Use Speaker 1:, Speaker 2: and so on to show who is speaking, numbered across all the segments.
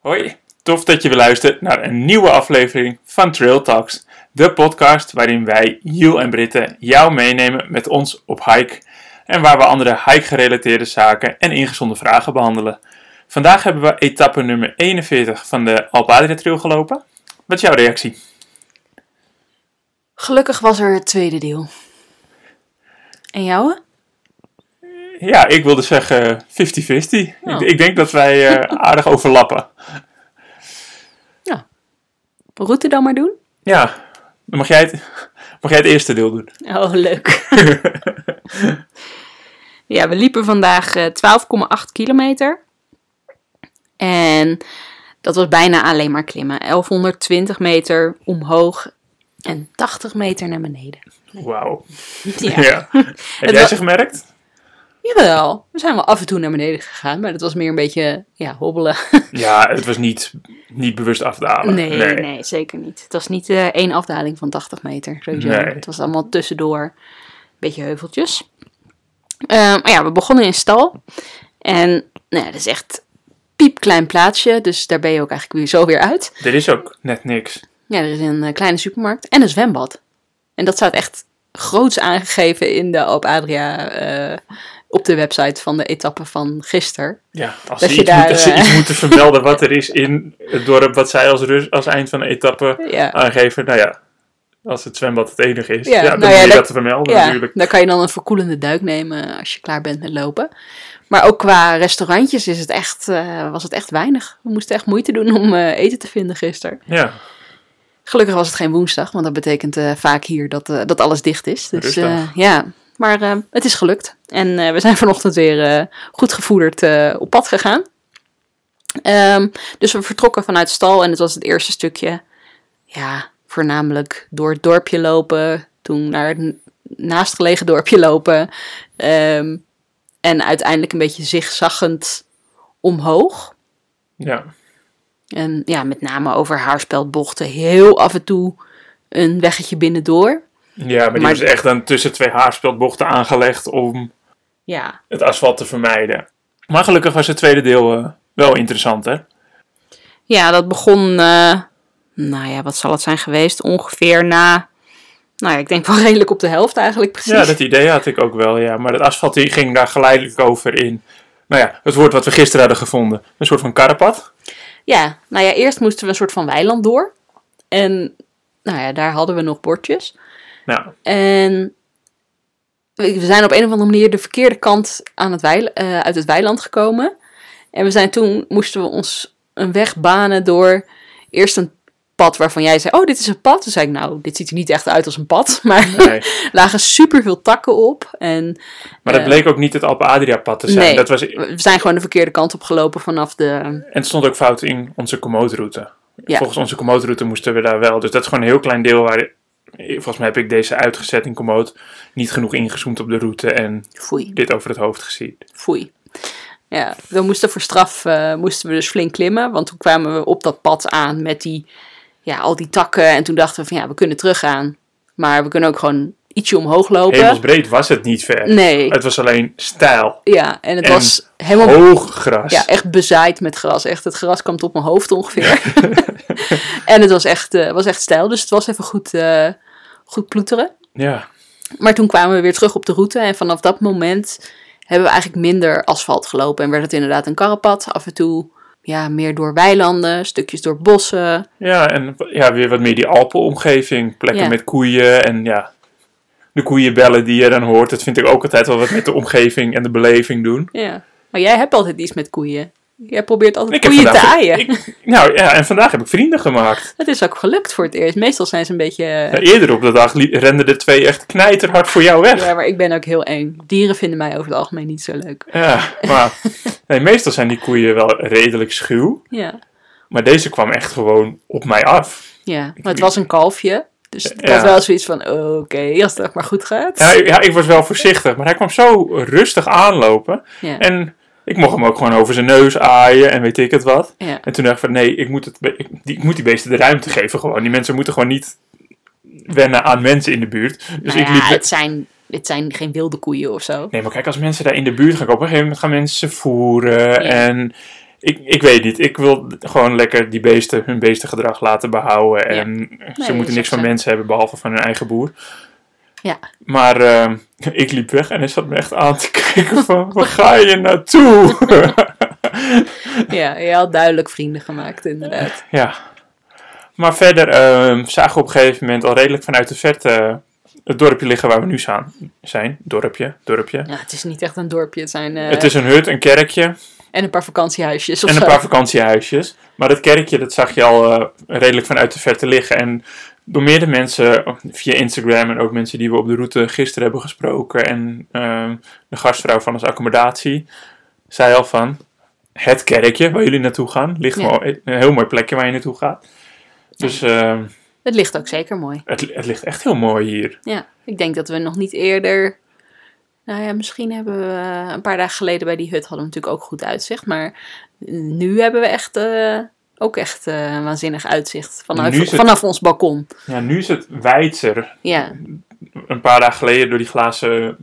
Speaker 1: Hoi, tof dat je weer luistert naar een nieuwe aflevering van Trail Talks, de podcast waarin wij, Jill en Britten, jou meenemen met ons op hike en waar we andere hike-gerelateerde zaken en ingezonde vragen behandelen. Vandaag hebben we etappe nummer 41 van de Alpadre Trail gelopen. Wat is jouw reactie?
Speaker 2: Gelukkig was er het tweede deel. En jouwe?
Speaker 1: Ja, ik wilde zeggen 50-50. Ik,
Speaker 2: Nou.
Speaker 1: ik denk dat wij eh, aardig overlappen.
Speaker 2: Route dan maar doen?
Speaker 1: Ja, dan mag jij het, mag jij het eerste deel doen.
Speaker 2: Oh, leuk. ja, we liepen vandaag eh, 12,8 kilometer. En dat was bijna alleen maar klimmen. 1120 meter omhoog en 80 meter naar beneden.
Speaker 1: Wauw.
Speaker 2: Ja.
Speaker 1: Ja. Heb jij
Speaker 2: wa-
Speaker 1: ze gemerkt?
Speaker 2: Jawel, we zijn wel af en toe naar beneden gegaan. Maar dat was meer een beetje ja, hobbelen.
Speaker 1: Ja, het was niet, niet bewust afdalen.
Speaker 2: Nee, nee. zeker niet. Het was niet eh, één afdaling van 80 meter. Sowieso.
Speaker 1: Nee.
Speaker 2: Het was allemaal tussendoor. Een beetje heuveltjes. Eh, maar ja, we begonnen in stal. En nou, ja, dat is echt piepklein plaatsje. Dus daar ben je ook eigenlijk weer zo weer uit.
Speaker 1: Er is ook net niks.
Speaker 2: Ja, er is een eh, kleine supermarkt en een zwembad. En dat staat echt groots aangegeven in de Alp Adria eh, op de website van de etappe van gisteren.
Speaker 1: Ja, als
Speaker 2: Dat
Speaker 1: ze,
Speaker 2: je
Speaker 1: iets,
Speaker 2: daar,
Speaker 1: moeten, als ze
Speaker 2: eh,
Speaker 1: iets moeten vermelden wat er is in het dorp, wat zij als, rust, als eind van de etappe
Speaker 2: Ja.
Speaker 1: aangeven. Nou ja, als het zwembad het enige is, ja, dan
Speaker 2: Ja, nou
Speaker 1: moet
Speaker 2: ja,
Speaker 1: je
Speaker 2: dat-
Speaker 1: dat vermelden natuurlijk.
Speaker 2: daar kan je dan een verkoelende duik nemen eh, als je klaar bent met lopen. Maar ook qua restaurantjes is het echt, eh, was het echt weinig. We moesten echt moeite doen om eh, eten te vinden gisteren.
Speaker 1: Ja,
Speaker 2: Gelukkig was het geen woensdag, want dat betekent eh, vaak hier dat, eh, dat alles dicht is. Dus
Speaker 1: Rustig.
Speaker 2: eh, ja, maar eh, het is gelukt. En eh, we zijn vanochtend weer eh, goed gevoederd eh, op pad gegaan. Ehm, dus we vertrokken vanuit stal en het was het eerste stukje. Ja, voornamelijk door het dorpje lopen, toen naar het n- naastgelegen dorpje lopen. ehm, en uiteindelijk een beetje zigzaggend omhoog.
Speaker 1: ja.
Speaker 2: En ja, met name over haarspeldbochten. Heel af en toe een weggetje binnendoor.
Speaker 1: ja maar die
Speaker 2: Maar-
Speaker 1: was echt dan tussen twee haarspeldbochten aangelegd om
Speaker 2: Ja.
Speaker 1: het asfalt te vermijden. Maar gelukkig was het tweede deel eh, wel interessant, hè?
Speaker 2: Ja, dat begon, eh, nou ja, wat zal het zijn geweest? Ongeveer na, nou ja, ik denk wel redelijk op de helft eigenlijk precies.
Speaker 1: Ja, dat idee had ik ook wel, ja. Maar het asfalt die ging daar geleidelijk over in. Nou ja, het woord wat we gisteren hadden gevonden. Een soort van karrepad.
Speaker 2: Ja, nou ja, eerst moesten we een soort van weiland door. En nou ja, daar hadden we nog bordjes.
Speaker 1: Nou,
Speaker 2: En we we zijn op een of andere manier de verkeerde kant aan het weil- eh, uit het weiland gekomen. En we zijn toen moesten we ons een weg banen door eerst een pad waarvan jij zei: Oh, dit is een pad. Toen zei ik: Nou, dit ziet er niet echt uit als een pad. Maar
Speaker 1: nee.
Speaker 2: er lagen superveel takken op. En
Speaker 1: Maar dat
Speaker 2: Eh.
Speaker 1: bleek ook niet het Alpe Adria pad te zijn.
Speaker 2: Nee.
Speaker 1: Dat was, en
Speaker 2: we zijn gewoon de verkeerde kant op gelopen vanaf de.
Speaker 1: het stond ook fout in onze commode-route.
Speaker 2: Ja.
Speaker 1: Volgens onze commode-route moesten we daar wel. Dus dat is gewoon een heel klein deel waar... Volgens mij heb ik deze uitgezet in commode. Niet genoeg ingezoomd op de route en
Speaker 2: Foei.
Speaker 1: dit over het hoofd gezien.
Speaker 2: Foei. Ja, we moesten voor straf eh, moesten we dus flink klimmen. Want toen kwamen we op dat pad aan met die, ja, al die takken. En toen dachten we van ja, we kunnen teruggaan. Maar we kunnen ook gewoon ietsje omhoog lopen.
Speaker 1: Hemelsbreed was het niet ver.
Speaker 2: Nee.
Speaker 1: Het was alleen stijl.
Speaker 2: Ja, en het
Speaker 1: En
Speaker 2: was helemaal
Speaker 1: Hoog gras.
Speaker 2: ja, echt bezaaid met gras. Echt, het gras kwam tot mijn hoofd ongeveer. en het was echt, eh, was echt stijl. Dus het was even goed, eh, goed ploeteren.
Speaker 1: ja.
Speaker 2: Maar toen kwamen we weer terug op de route. En vanaf dat moment hebben we eigenlijk minder asfalt gelopen. En werd het inderdaad een karrepad. Af en toe ja, meer door weilanden, stukjes door bossen.
Speaker 1: Ja, en ja, weer wat meer die Alpenomgeving. Plekken
Speaker 2: Ja.
Speaker 1: met koeien en ja, de koeienbellen die je dan hoort. Dat vind ik ook altijd wel wat met de omgeving en de beleving doen.
Speaker 2: Ja. Maar jij hebt altijd iets met koeien. Jij probeert altijd
Speaker 1: Ik heb
Speaker 2: koeien te
Speaker 1: vandaag-
Speaker 2: aaien.
Speaker 1: ik- nou ja, en vandaag heb ik vrienden gemaakt.
Speaker 2: Dat is ook gelukt voor het eerst. Meestal zijn ze een beetje... eh,
Speaker 1: Nou, eerder op de dag li- renden de twee echt knijterhard voor jou weg.
Speaker 2: Ja, maar ik ben ook heel eng. Dieren vinden mij over het algemeen niet zo leuk.
Speaker 1: Ja, maar nee, meestal zijn die koeien wel redelijk schuw.
Speaker 2: Ja,
Speaker 1: Maar deze kwam echt gewoon op mij af.
Speaker 2: ja. maar het was een kalfje. Dus het
Speaker 1: Ja.
Speaker 2: was wel zoiets van, oh, oké, als het ook maar goed gaat.
Speaker 1: Ja, ik- ja, ik was wel voorzichtig, maar hij kwam zo rustig aanlopen.
Speaker 2: Ja.
Speaker 1: En ik mocht hem ook gewoon over zijn neus aaien en weet ik het wat.
Speaker 2: ja.
Speaker 1: En toen dacht ik van nee, ik moet, het, be- ik, die, ik moet die beesten de ruimte geven gewoon. Die mensen moeten gewoon niet wennen aan mensen in de buurt. Dus
Speaker 2: Nou
Speaker 1: ik
Speaker 2: ja,
Speaker 1: liep...
Speaker 2: het, zijn, het zijn geen wilde koeien of zo.
Speaker 1: Nee, maar kijk, als mensen daar in de buurt gaan kopen, op een gegeven moment gaan mensen voeren. En ik, ik weet niet. Ik wil gewoon lekker die beesten hun beestengedrag laten behouden.
Speaker 2: Ja.
Speaker 1: En
Speaker 2: dat
Speaker 1: ze
Speaker 2: is
Speaker 1: moeten
Speaker 2: ook
Speaker 1: niks van
Speaker 2: zo.
Speaker 1: mensen hebben behalve van hun eigen boer.
Speaker 2: Ja.
Speaker 1: Maar ehm, ik liep weg en hij zat me echt aan te kijken van, waar ga je naartoe?
Speaker 2: Ja, je had duidelijk vrienden gemaakt, inderdaad.
Speaker 1: ja. Maar verder ehm, zagen we op een gegeven moment al redelijk vanuit de verte eh, het dorpje liggen waar we nu staan- zijn. Dorpje, dorpje.
Speaker 2: Ja, het is niet echt een dorpje. Het zijn eh,
Speaker 1: Het is een hut, een kerkje.
Speaker 2: en een paar vakantiehuisjes of
Speaker 1: En een
Speaker 2: zo.
Speaker 1: paar vakantiehuisjes. Maar dat kerkje, dat zag je al eh, redelijk vanuit de verte liggen. En door meerdere mensen, oh, via Instagram en ook mensen die we op de route gisteren hebben gesproken. En ehm, de gastvrouw van onze accommodatie, zei al van, het kerkje waar jullie naartoe gaan, ligt
Speaker 2: Ja.
Speaker 1: wel een heel mooi plekje waar je naartoe gaat. Dus ehm,
Speaker 2: Het ligt ook zeker mooi.
Speaker 1: het, het ligt echt heel mooi hier.
Speaker 2: Ja, ik denk dat we nog niet eerder. Nou ja, misschien hebben we eh, een paar dagen geleden bij die hut hadden we natuurlijk ook goed uitzicht. Maar nu hebben we echt eh, ook echt eh, een waanzinnig uitzicht. Vanaf,
Speaker 1: Nu is het-
Speaker 2: vanaf ons balkon.
Speaker 1: Ja, nu is het wijdser.
Speaker 2: Ja,
Speaker 1: Een paar dagen geleden door die glazen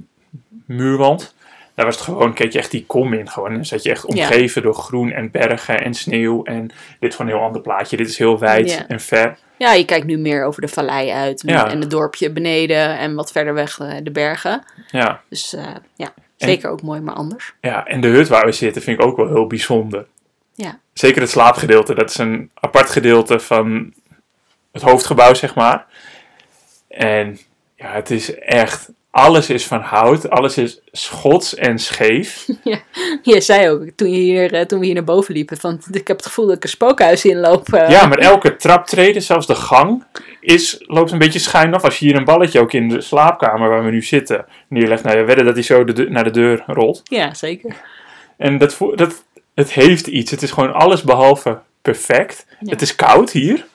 Speaker 1: muurwand. Daar was het gewoon, keek je echt die kom in gewoon. En dan zat je echt omgeven door groen en bergen en sneeuw. En dit is gewoon een heel ander plaatje. Dit is heel wijd
Speaker 2: Ja.
Speaker 1: en ver.
Speaker 2: ja je kijkt nu meer over de vallei uit.
Speaker 1: Ja.
Speaker 2: En het dorpje beneden en wat verder weg eh, de bergen.
Speaker 1: Ja.
Speaker 2: Dus eh, ja, zeker ook mooi, maar anders.
Speaker 1: ja, en de hut waar we zitten vind ik ook wel heel bijzonder.
Speaker 2: Ja.
Speaker 1: Zeker het slaapgedeelte. Dat is een apart gedeelte van het hoofdgebouw, zeg maar. En ja, het is echt... Alles is van hout. Alles is schots en scheef.
Speaker 2: Je zei ook toen, je hier, eh, toen we hier naar boven liepen: van ik heb het gevoel dat ik een spookhuis inloop. eh.
Speaker 1: Ja, maar elke traptreden, zelfs de gang, is, loopt een beetje schuin af. Als je hier een balletje ook in de slaapkamer waar we nu zitten neerlegt, nou, we wedden dat hij zo de deur- naar de deur rolt.
Speaker 2: ja, zeker.
Speaker 1: En dat, voel- dat, het heeft iets. Het is gewoon alles behalve perfect.
Speaker 2: Ja.
Speaker 1: Het is koud hier.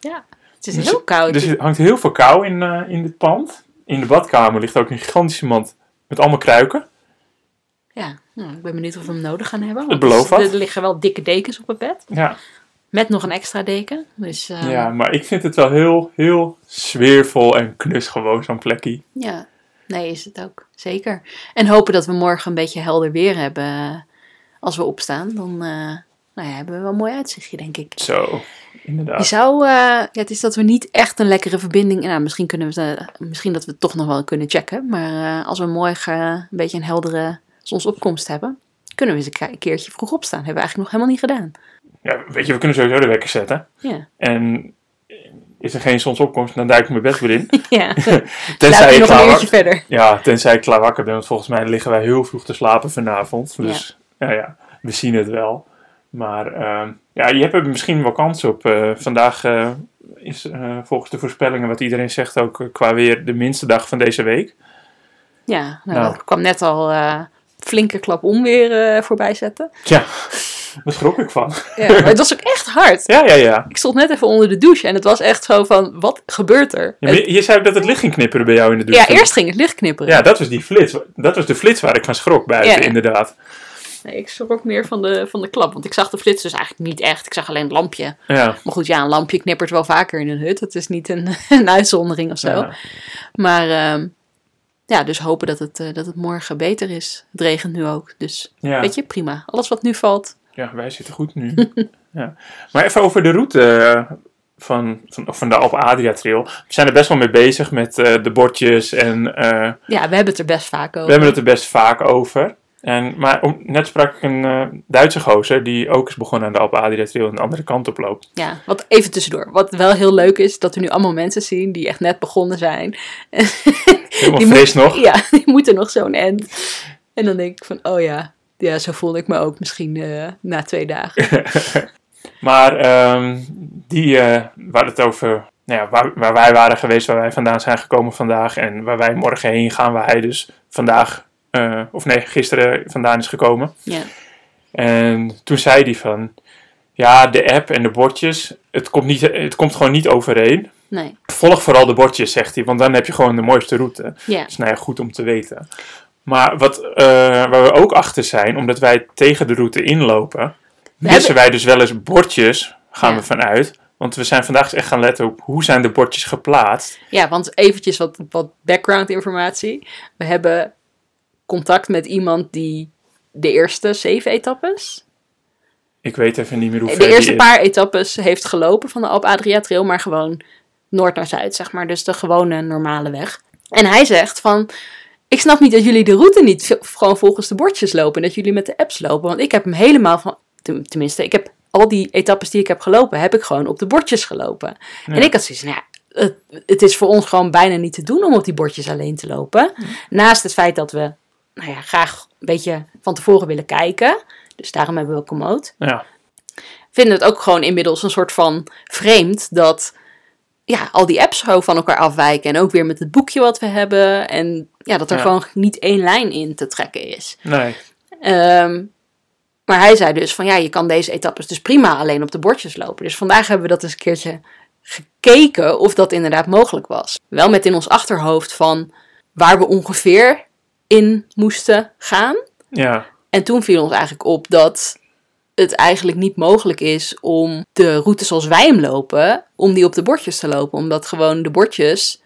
Speaker 2: Ja. Het is
Speaker 1: Dus-
Speaker 2: heel koud.
Speaker 1: Dus er hangt heel veel kou in, eh, in dit pand. In de badkamer ligt ook een gigantische mand met allemaal kruiken.
Speaker 2: Ja, nou, ik ben benieuwd of we hem nodig gaan hebben.
Speaker 1: Het
Speaker 2: want
Speaker 1: belooft
Speaker 2: er-
Speaker 1: wat.
Speaker 2: Er liggen wel dikke dekens op het bed.
Speaker 1: Ja,
Speaker 2: Met nog een extra deken. Dus eh,
Speaker 1: ja, maar ik vind het wel heel, heel sfeervol en knus gewoon, zo'n plekje.
Speaker 2: ja. Nee, is het ook. Zeker. En hopen dat we morgen een beetje helder weer hebben. eh, Als we opstaan, dan eh, nou ja, hebben we wel een mooi uitzichtje, denk ik.
Speaker 1: Zo,
Speaker 2: Je
Speaker 1: inderdaad.
Speaker 2: zou, eh, ja, het is dat we niet echt een lekkere verbinding... Nou, misschien, kunnen we, het, eh, misschien dat we het toch nog wel kunnen checken. Maar eh, als we morgen een beetje een heldere zonsopkomst hebben... kunnen we eens een ke- keertje vroeg opstaan. Hebben we eigenlijk nog helemaal niet gedaan.
Speaker 1: Ja, weet je, we kunnen sowieso de wekker zetten.
Speaker 2: Ja.
Speaker 1: En is er geen zonsopkomst, dan duik ik mijn bed weer in.
Speaker 2: ja.
Speaker 1: Tenzij
Speaker 2: Laat
Speaker 1: ik,
Speaker 2: nog
Speaker 1: klaar
Speaker 2: een uurtje
Speaker 1: wakker,
Speaker 2: verder.
Speaker 1: ja, tenzij ik klaar wakker ben. Want volgens mij liggen wij heel vroeg te slapen vanavond. Dus nou ja, we zien het wel. Maar ehm, ja, je hebt er misschien wel kans op. Eh, vandaag eh, is eh, volgens de voorspellingen, wat iedereen zegt, ook eh, qua weer de minste dag van deze week.
Speaker 2: Ja, nou,
Speaker 1: Nou.
Speaker 2: dat kwam net al eh, flinke klap onweer eh, voorbij zetten.
Speaker 1: Tja, daar schrok ik van.
Speaker 2: Ja, maar het was ook echt hard.
Speaker 1: Ja, ja, ja.
Speaker 2: Ik stond net even onder de douche en het was echt zo van, wat gebeurt er?
Speaker 1: Ja, maar Je, Dus- je zei dat het licht ging knipperen bij jou in de
Speaker 2: Het- ja,
Speaker 1: douche.
Speaker 2: eerst ging het licht knipperen.
Speaker 1: Ja, dat was die flits. Dat was de flits waar ik van schrok buiten,
Speaker 2: Ja, ja.
Speaker 1: inderdaad.
Speaker 2: Nee, ik schrok meer van de, van de klap, want ik zag de flits dus eigenlijk niet echt. Ik zag alleen het lampje.
Speaker 1: Ja.
Speaker 2: Maar goed, ja, een lampje knippert wel vaker in een hut. Het is niet een, een uitzondering of zo.
Speaker 1: Ja.
Speaker 2: Maar ehm, ja, dus hopen dat het, eh, dat het morgen beter is. Het regent nu ook, dus
Speaker 1: Ja.
Speaker 2: weet je, prima. Alles wat nu valt,
Speaker 1: Ja, wij zitten goed nu. ja. Maar even over de route eh, van, van, of van de Alp Adria Trail. We zijn er best wel mee bezig met eh, de bordjes en eh,
Speaker 2: ja, we hebben het er best vaak over.
Speaker 1: we hebben het er best vaak over. En, maar om- net sprak ik een eh, Duitse gozer die ook is begonnen aan de Alp Adria Trail en de andere kant op loopt.
Speaker 2: Ja, wat even tussendoor. Wat wel heel leuk is, dat we nu allemaal mensen zien die echt net begonnen zijn.
Speaker 1: Helemaal
Speaker 2: Die
Speaker 1: fris nog.
Speaker 2: Ja, die moeten nog zo'n end. En dan denk ik van, oh ja, ja zo voelde ik me ook misschien eh, na twee dagen.
Speaker 1: Maar ehm, die eh, waar het over, nou ja, waar, waar wij waren geweest, waar wij vandaan zijn gekomen vandaag en waar wij morgen heen gaan, waar hij dus vandaag, eh, of nee, gisteren vandaan is gekomen.
Speaker 2: Ja,
Speaker 1: En toen zei hij van, ja, de app en de bordjes, het komt, niet, het komt gewoon niet overeen.
Speaker 2: nee.
Speaker 1: Volg vooral de bordjes, zegt hij, want dan heb je gewoon de mooiste route. Dat
Speaker 2: Ja,
Speaker 1: is nou ja, goed om te weten. Maar wat, eh, waar we ook achter zijn, omdat wij tegen de route inlopen, missen wij dus wel eens bordjes, gaan
Speaker 2: Ja.
Speaker 1: we vanuit. Want we zijn vandaag eens echt gaan letten op hoe zijn de bordjes geplaatst.
Speaker 2: ja want eventjes wat, wat background informatie. We hebben contact met iemand die de eerste zeven etappes
Speaker 1: Ik weet even niet meer hoe ver
Speaker 2: de eerste
Speaker 1: die is.
Speaker 2: paar etappes heeft gelopen van de Alp Adria Trail, maar gewoon noord naar zuid, zeg maar. Dus de gewone, normale weg. En hij zegt van, ik snap niet dat jullie de route niet v- gewoon volgens de bordjes lopen. en Dat jullie met de apps lopen, want ik heb hem helemaal van, ten- tenminste, ik heb al die etappes die ik heb gelopen, heb ik gewoon op de bordjes gelopen. En ik had zoiets van, ja, het, het is voor ons gewoon bijna niet te doen om op die bordjes alleen te lopen. Naast het feit dat we, nou ja, graag een beetje van tevoren willen kijken. Dus daarom hebben we Komoot
Speaker 1: Ja.
Speaker 2: vinden het ook gewoon inmiddels een soort van vreemd dat ja, al die apps zo van elkaar afwijken. En ook weer met het boekje wat we hebben. En ja, dat er
Speaker 1: Ja.
Speaker 2: gewoon niet één lijn in te trekken is.
Speaker 1: Nee.
Speaker 2: Ehm, maar hij zei dus van ja, je kan deze etappes dus prima alleen op de bordjes lopen. Dus vandaag hebben we dat eens een keertje gekeken of dat inderdaad mogelijk was. Wel met in ons achterhoofd van waar we ongeveer in moesten gaan.
Speaker 1: Ja.
Speaker 2: En toen viel ons eigenlijk op dat het eigenlijk niet mogelijk is om de route zoals wij hem lopen, om die op de bordjes te lopen. Omdat gewoon de bordjes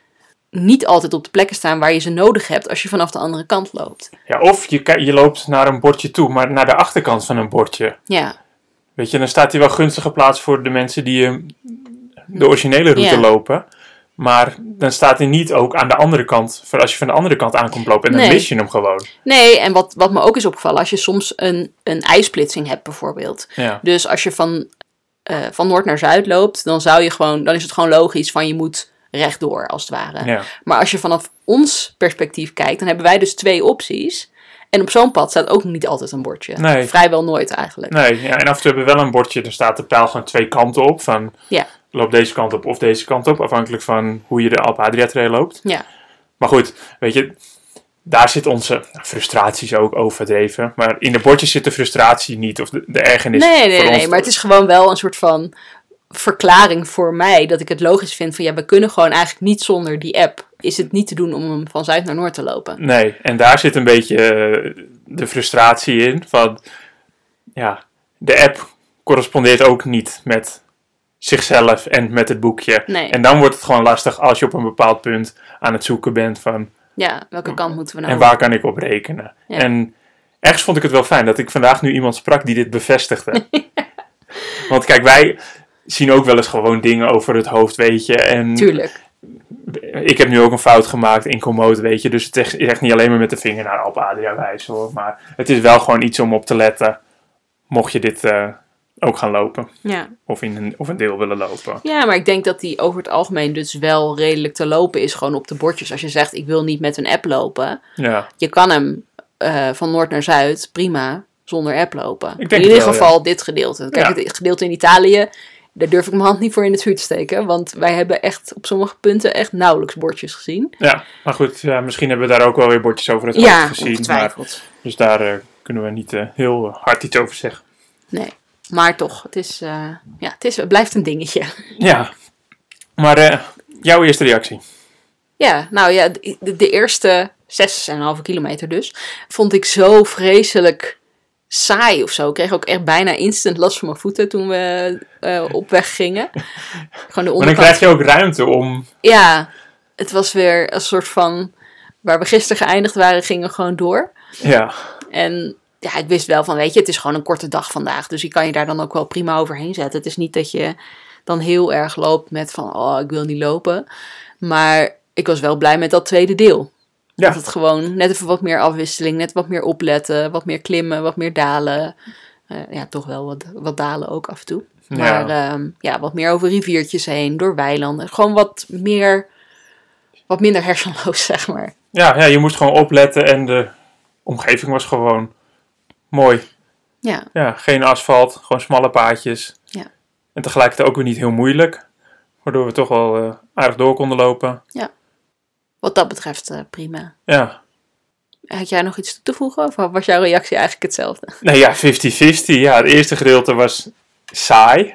Speaker 2: niet altijd op de plekken staan waar je ze nodig hebt als je vanaf de andere kant loopt.
Speaker 1: ja. Of je, ki- je loopt naar een bordje toe, maar naar de achterkant van een bordje.
Speaker 2: Ja,
Speaker 1: Weet je, dan staat hij wel gunstig geplaatst voor de mensen die eh, de originele route
Speaker 2: Ja.
Speaker 1: lopen. Maar dan staat hij niet ook aan de andere kant, voor als je van de andere kant aankomt lopen. En dan
Speaker 2: Nee.
Speaker 1: mis je hem gewoon.
Speaker 2: nee, en wat, wat me ook is opgevallen, als je soms een, een ijsplitsing hebt bijvoorbeeld.
Speaker 1: Ja.
Speaker 2: Dus als je van, eh, van noord naar zuid loopt, dan, zou je gewoon, dan is het gewoon logisch van je moet rechtdoor als het ware.
Speaker 1: Ja.
Speaker 2: Maar als je vanaf ons perspectief kijkt, dan hebben wij dus twee opties. En op zo'n pad staat ook niet altijd een bordje.
Speaker 1: Nee.
Speaker 2: Vrijwel nooit eigenlijk.
Speaker 1: Nee, ja, en af en toe hebben we wel een bordje, daar staat de pijl gewoon twee kanten op. Van
Speaker 2: Ja,
Speaker 1: loop deze kant op of deze kant op, afhankelijk van hoe je de Alp Adria Trail loopt.
Speaker 2: ja,
Speaker 1: Maar goed, weet je, daar zit onze frustraties ook overdreven. Maar in de bordjes zit de frustratie niet of de, de ergernis.
Speaker 2: Nee, nee,
Speaker 1: voor
Speaker 2: nee,
Speaker 1: ons.
Speaker 2: maar het is gewoon wel een soort van verklaring voor mij dat ik het logisch vind van ja, we kunnen gewoon eigenlijk niet zonder die app. Is het niet te doen om hem van zuid naar noord te lopen?
Speaker 1: Nee, en daar zit een beetje eh, de frustratie in van, ja, de app correspondeert ook niet met zichzelf en met het boekje.
Speaker 2: Nee.
Speaker 1: En dan wordt het gewoon lastig als je op een bepaald punt aan het zoeken bent van,
Speaker 2: Ja, welke kant moeten we nou?
Speaker 1: en waar kan ik op rekenen?
Speaker 2: Ja.
Speaker 1: En ergens vond ik het wel fijn dat ik vandaag nu iemand sprak die dit bevestigde. Want kijk, wij zien ook wel eens gewoon dingen over het hoofd, weet je. En
Speaker 2: Tuurlijk.
Speaker 1: ik heb nu ook een fout gemaakt in Komoot, weet je. Dus het is echt niet alleen maar met de vinger naar Alp Adria wijzen, hoor. Maar het is wel gewoon iets om op te letten, mocht je dit eh, ook gaan lopen.
Speaker 2: Ja.
Speaker 1: Of, in een, of een deel willen lopen.
Speaker 2: ja, maar ik denk dat die over het algemeen dus wel redelijk te lopen is, gewoon op de bordjes. Als je zegt ik wil niet met een app lopen,
Speaker 1: Ja,
Speaker 2: je kan hem eh, van noord naar zuid prima zonder app lopen.
Speaker 1: denk
Speaker 2: in
Speaker 1: het
Speaker 2: ieder
Speaker 1: wel, ja.
Speaker 2: geval dit gedeelte. Kijk,
Speaker 1: Ja.
Speaker 2: het gedeelte in Italië, daar durf ik mijn hand niet voor in het vuur te steken. Want wij hebben echt op sommige punten echt nauwelijks bordjes gezien.
Speaker 1: ja. maar goed, ja, misschien hebben we daar ook wel weer bordjes over het
Speaker 2: ja,
Speaker 1: hoofd gezien. Maar,
Speaker 2: ongetwijfeld.
Speaker 1: dus daar eh, kunnen we niet eh, heel hard iets over zeggen.
Speaker 2: Nee. Maar toch, het, is, eh, ja, het, is, het blijft een dingetje.
Speaker 1: Ja, maar eh, jouw eerste reactie.
Speaker 2: Ja, nou ja, de, de eerste 6,5 kilometer dus, vond ik zo vreselijk saai of zo. Ik kreeg ook echt bijna instant last van mijn voeten toen we eh, op weg gingen. Gewoon de
Speaker 1: Maar dan
Speaker 2: onderkant
Speaker 1: krijg je ook ruimte om.
Speaker 2: Ja, het was weer een soort van. Waar we gisteren geëindigd waren, gingen we gewoon door.
Speaker 1: Ja,
Speaker 2: En ja, ik wist wel van, weet je, het is gewoon een korte dag vandaag. Dus je kan je daar dan ook wel prima overheen zetten. Het is niet dat je dan heel erg loopt met van, oh, ik wil niet lopen. Maar ik was wel blij met dat tweede deel.
Speaker 1: Ja.
Speaker 2: Dat het gewoon net even wat meer afwisseling, net wat meer opletten, wat meer klimmen, wat meer dalen. Eh, ja, toch wel wat, wat dalen ook af en toe.
Speaker 1: Ja.
Speaker 2: Maar ehm, ja, wat meer over riviertjes heen, door weilanden. Gewoon wat meer, wat minder hersenloos, zeg maar.
Speaker 1: ja, ja je moest gewoon opletten en de omgeving was gewoon mooi.
Speaker 2: Ja,
Speaker 1: Ja, geen asfalt, gewoon smalle paadjes.
Speaker 2: Ja.
Speaker 1: En tegelijkertijd ook weer niet heel moeilijk. Waardoor we toch wel eh, aardig door konden lopen.
Speaker 2: wat dat betreft eh, prima.
Speaker 1: Ja.
Speaker 2: Had jij nog iets toe te voegen of was jouw reactie eigenlijk hetzelfde?
Speaker 1: Nou ja, 50-50. Ja, het eerste gedeelte was saai.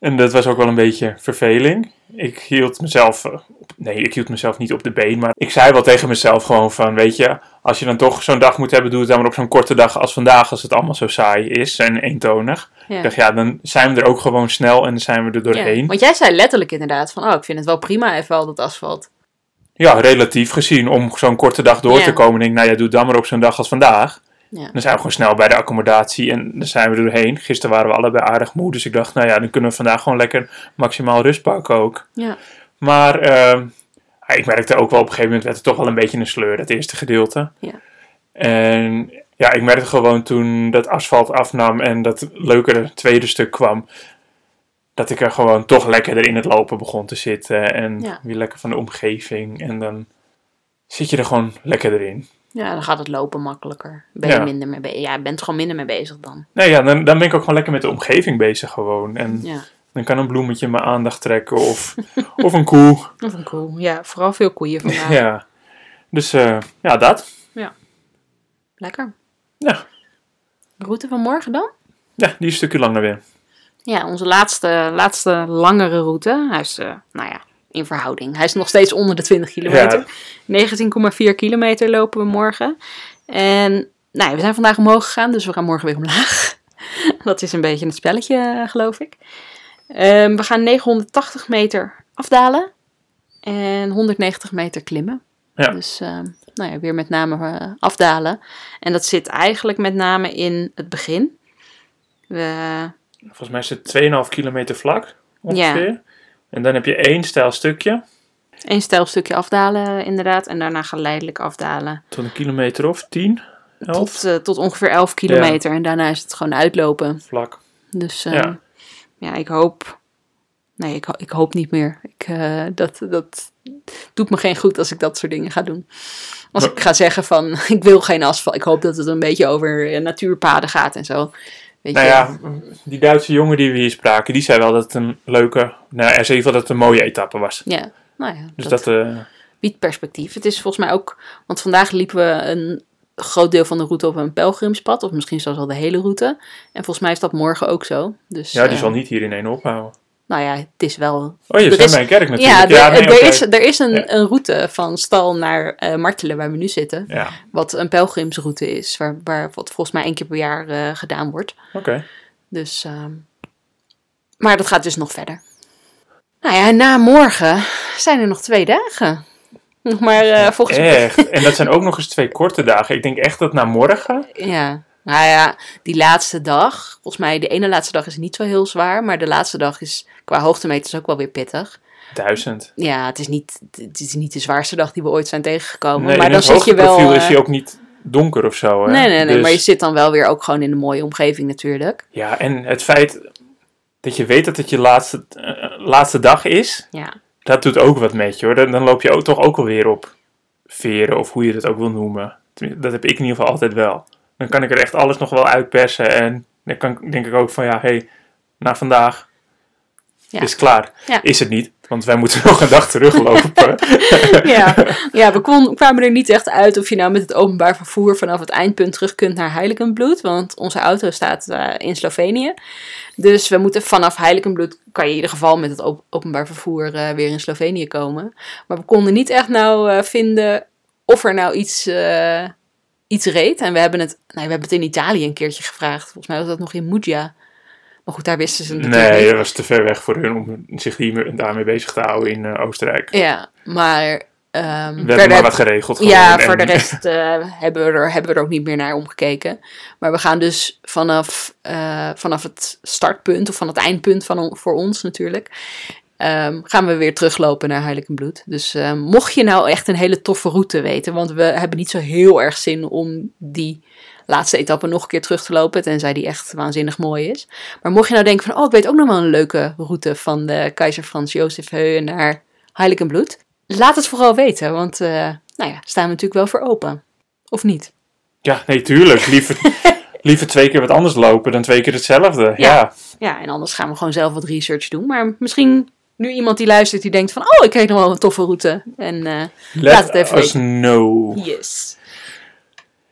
Speaker 1: En dat was ook wel een beetje verveling. Ik hield mezelf... eh, op- Nee, ik hield mezelf niet op de been. Maar ik zei wel tegen mezelf gewoon van... Weet je, als je dan toch zo'n dag moet hebben... Doe het dan maar op zo'n korte dag als vandaag. Als het allemaal zo saai is en eentonig. Ik dacht, ja, dan zijn we er ook gewoon snel. En dan zijn we er doorheen.
Speaker 2: Want jij zei letterlijk inderdaad van, oh, ik vind het wel prima even al dat asfalt.
Speaker 1: Ja, relatief gezien, om zo'n korte dag door
Speaker 2: Ja.
Speaker 1: te komen, denk ik, nou ja, doe het dan maar op zo'n dag als vandaag.
Speaker 2: Ja.
Speaker 1: Dan zijn we gewoon snel bij de accommodatie en dan zijn we er doorheen. Gisteren waren we allebei aardig moe, dus ik dacht, nou ja, dan kunnen we vandaag gewoon lekker maximaal rust pakken ook.
Speaker 2: Ja.
Speaker 1: Maar ehm, ja, ik merkte ook wel op een gegeven moment werd het toch wel een beetje een sleur, dat eerste gedeelte.
Speaker 2: Ja.
Speaker 1: En ja, ik merkte gewoon toen dat asfalt afnam en dat leukere tweede stuk kwam, dat ik er gewoon toch lekkerder in het lopen begon te zitten en
Speaker 2: Ja.
Speaker 1: weer lekker van de omgeving. En dan zit je er gewoon lekkerder in.
Speaker 2: ja, dan gaat het lopen makkelijker. Ben
Speaker 1: Ja.
Speaker 2: je minder mee bezig. Ja, je bent gewoon minder mee bezig dan.
Speaker 1: Nee, ja, dan, dan ben ik ook gewoon lekker met de omgeving bezig gewoon. En
Speaker 2: Ja.
Speaker 1: dan kan een bloemetje mijn aandacht trekken of, of een koe.
Speaker 2: Dat vind ik cool. Ja, vooral veel koeien vandaag.
Speaker 1: Ja. Dus eh, ja, dat.
Speaker 2: Lekker.
Speaker 1: Ja.
Speaker 2: De route van morgen dan?
Speaker 1: ja, die is een stukje langer weer.
Speaker 2: Ja, onze laatste, laatste langere route. Hij is, eh, nou ja, in verhouding. Hij is nog steeds onder de 20 kilometer. 19,4 kilometer lopen we morgen. En nou ja, we zijn vandaag omhoog gegaan, dus we gaan morgen weer omlaag. Dat is een beetje het spelletje, eh, geloof ik. Ehm, we gaan 980 meter afdalen en 190 meter klimmen.
Speaker 1: Ja.
Speaker 2: Dus ehm, nou ja, weer met name eh, afdalen. En dat zit eigenlijk met name in het begin. We,
Speaker 1: Volgens mij is het 2,5 kilometer vlak ongeveer. En dan heb je één stijl stukje,
Speaker 2: Eén stijlstukje afdalen, inderdaad. En daarna geleidelijk afdalen.
Speaker 1: tot een kilometer of 10, 11
Speaker 2: Tot, eh, tot ongeveer 11 kilometer. En daarna is het gewoon uitlopen.
Speaker 1: vlak.
Speaker 2: Dus eh, ja.
Speaker 1: Ja.
Speaker 2: ik hoop. Nee, ik, ho- ik hoop niet meer. Ik, eh, dat, dat doet me geen goed als ik dat soort dingen ga doen. Als
Speaker 1: Maar-
Speaker 2: ik ga zeggen van ik wil geen asfalt. Ik hoop dat het een beetje over eh, natuurpaden gaat en zo. Weet
Speaker 1: Nou
Speaker 2: je?
Speaker 1: ja, die Duitse jongen die we hier spraken, die zei wel dat het een leuke, nou er zei in ieder geval dat het een mooie etappe was.
Speaker 2: Ja, nou ja.
Speaker 1: Dus
Speaker 2: dat-
Speaker 1: dat, eh,
Speaker 2: biedt perspectief. Het is volgens mij ook, want vandaag liepen we een groot deel van de route op een pelgrimspad, of misschien zelfs al de hele route. En volgens mij is dat morgen ook zo. Dus,
Speaker 1: ja, die
Speaker 2: eh,
Speaker 1: zal niet hier in één ophouden.
Speaker 2: Nou ja, het is wel.
Speaker 1: Oh, je
Speaker 2: Er
Speaker 1: bent
Speaker 2: is-
Speaker 1: bij een kerk
Speaker 2: Ja,
Speaker 1: natuurlijk.
Speaker 2: er,
Speaker 1: nee,
Speaker 2: er
Speaker 1: oké.
Speaker 2: is, er is een,
Speaker 1: Ja.
Speaker 2: een route van stal naar eh, Martelen, waar we nu zitten,
Speaker 1: Ja,
Speaker 2: wat een pelgrimsroute is, waar, waar wat volgens mij één keer per jaar eh, gedaan wordt.
Speaker 1: oké.
Speaker 2: Dus, ehm, maar dat gaat dus nog verder. Nou ja, na morgen zijn er nog twee dagen. Nog maar eh, volgens mij.
Speaker 1: Echt. En dat zijn ook nog eens twee korte dagen. Ik denk echt dat na morgen.
Speaker 2: Ja, nou ja, die laatste dag. Volgens mij, de ene laatste dag is niet zo heel zwaar. Maar de laatste dag is qua hoogtemeters ook wel weer pittig.
Speaker 1: Duizend.
Speaker 2: Ja, het is niet, het is niet de zwaarste dag die we ooit zijn tegengekomen.
Speaker 1: Nee,
Speaker 2: maar
Speaker 1: in
Speaker 2: dan
Speaker 1: het
Speaker 2: zit je wel.
Speaker 1: hoogteprofiel is
Speaker 2: eh,
Speaker 1: hij ook niet donker of zo. Hè?
Speaker 2: nee, nee, nee.
Speaker 1: Dus-
Speaker 2: Maar je zit dan wel weer ook gewoon in een mooie omgeving natuurlijk.
Speaker 1: Ja, en het feit dat je weet dat het je laatste, eh, laatste dag is,
Speaker 2: Ja,
Speaker 1: dat doet ook wat met je hoor. Dan, dan loop je ook, toch ook alweer op veren of hoe je dat ook wil noemen. Tenminste, Dat heb ik in ieder geval altijd wel. Dan kan ik er echt alles nog wel uitpersen en dan kan, ik- denk ik ook van ja, hé, hey, na vandaag
Speaker 2: Ja.
Speaker 1: is het klaar.
Speaker 2: Ja.
Speaker 1: Is het niet, want wij moeten nog een dag teruglopen.
Speaker 2: ja. ja we kon, kwamen er niet echt uit of je nou met het openbaar vervoer vanaf het eindpunt terug kunt naar Heiligenbloed. Want onze auto staat eh, in Slovenië. Dus we moeten vanaf Heiligenbloed, kan je in ieder geval met het op- openbaar vervoer eh, weer in Slovenië komen. Maar we konden niet echt nou eh, vinden of er nou iets, eh, iets reed. En we hebben, het, nee, we hebben het in Italië een keertje gevraagd. Volgens mij was dat nog in Muggia. Maar goed, daar wisten ze het natuurlijk
Speaker 1: Nee,
Speaker 2: niet.
Speaker 1: dat was te ver weg voor hun om zich hier, daarmee bezig te houden in eh, Oostenrijk.
Speaker 2: Ja, maar... ehm
Speaker 1: We
Speaker 2: verder-
Speaker 1: hebben maar wat geregeld.
Speaker 2: Ja,
Speaker 1: gewoon.
Speaker 2: voor de
Speaker 1: En-
Speaker 2: rest eh, hebben, we er, hebben we er ook niet meer naar omgekeken. Maar we gaan dus vanaf, eh, vanaf het startpunt, of van het eindpunt van, on- voor ons natuurlijk, ehm, gaan we weer teruglopen naar Heiligenbloed. Dus eh, mocht je nou echt een hele toffe route weten, want we hebben niet zo heel erg zin om die laatste etappe nog een keer terug te lopen, tenzij die echt waanzinnig mooi is. Maar mocht je nou denken van, oh, ik weet ook nog wel een leuke route van de keizer Frans Jozef Heu naar Heiligenbloed. Laat het vooral weten, want eh, nou ja, staan we natuurlijk wel voor open. Of niet?
Speaker 1: Ja, nee, tuurlijk. Liever, liever twee keer wat anders lopen dan twee keer hetzelfde.
Speaker 2: Ja.
Speaker 1: Ja.
Speaker 2: Ja, en anders gaan we gewoon zelf wat research doen. Maar misschien nu iemand die luistert die denkt van, oh, ik weet nog wel een toffe route. En eh,
Speaker 1: Let
Speaker 2: Laat het even
Speaker 1: us know.
Speaker 2: yes.
Speaker 1: Oh,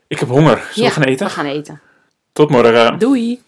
Speaker 1: Ik heb honger. Zullen
Speaker 2: Ja,
Speaker 1: we gaan eten?
Speaker 2: we gaan eten.
Speaker 1: Tot morgen.
Speaker 2: Doei!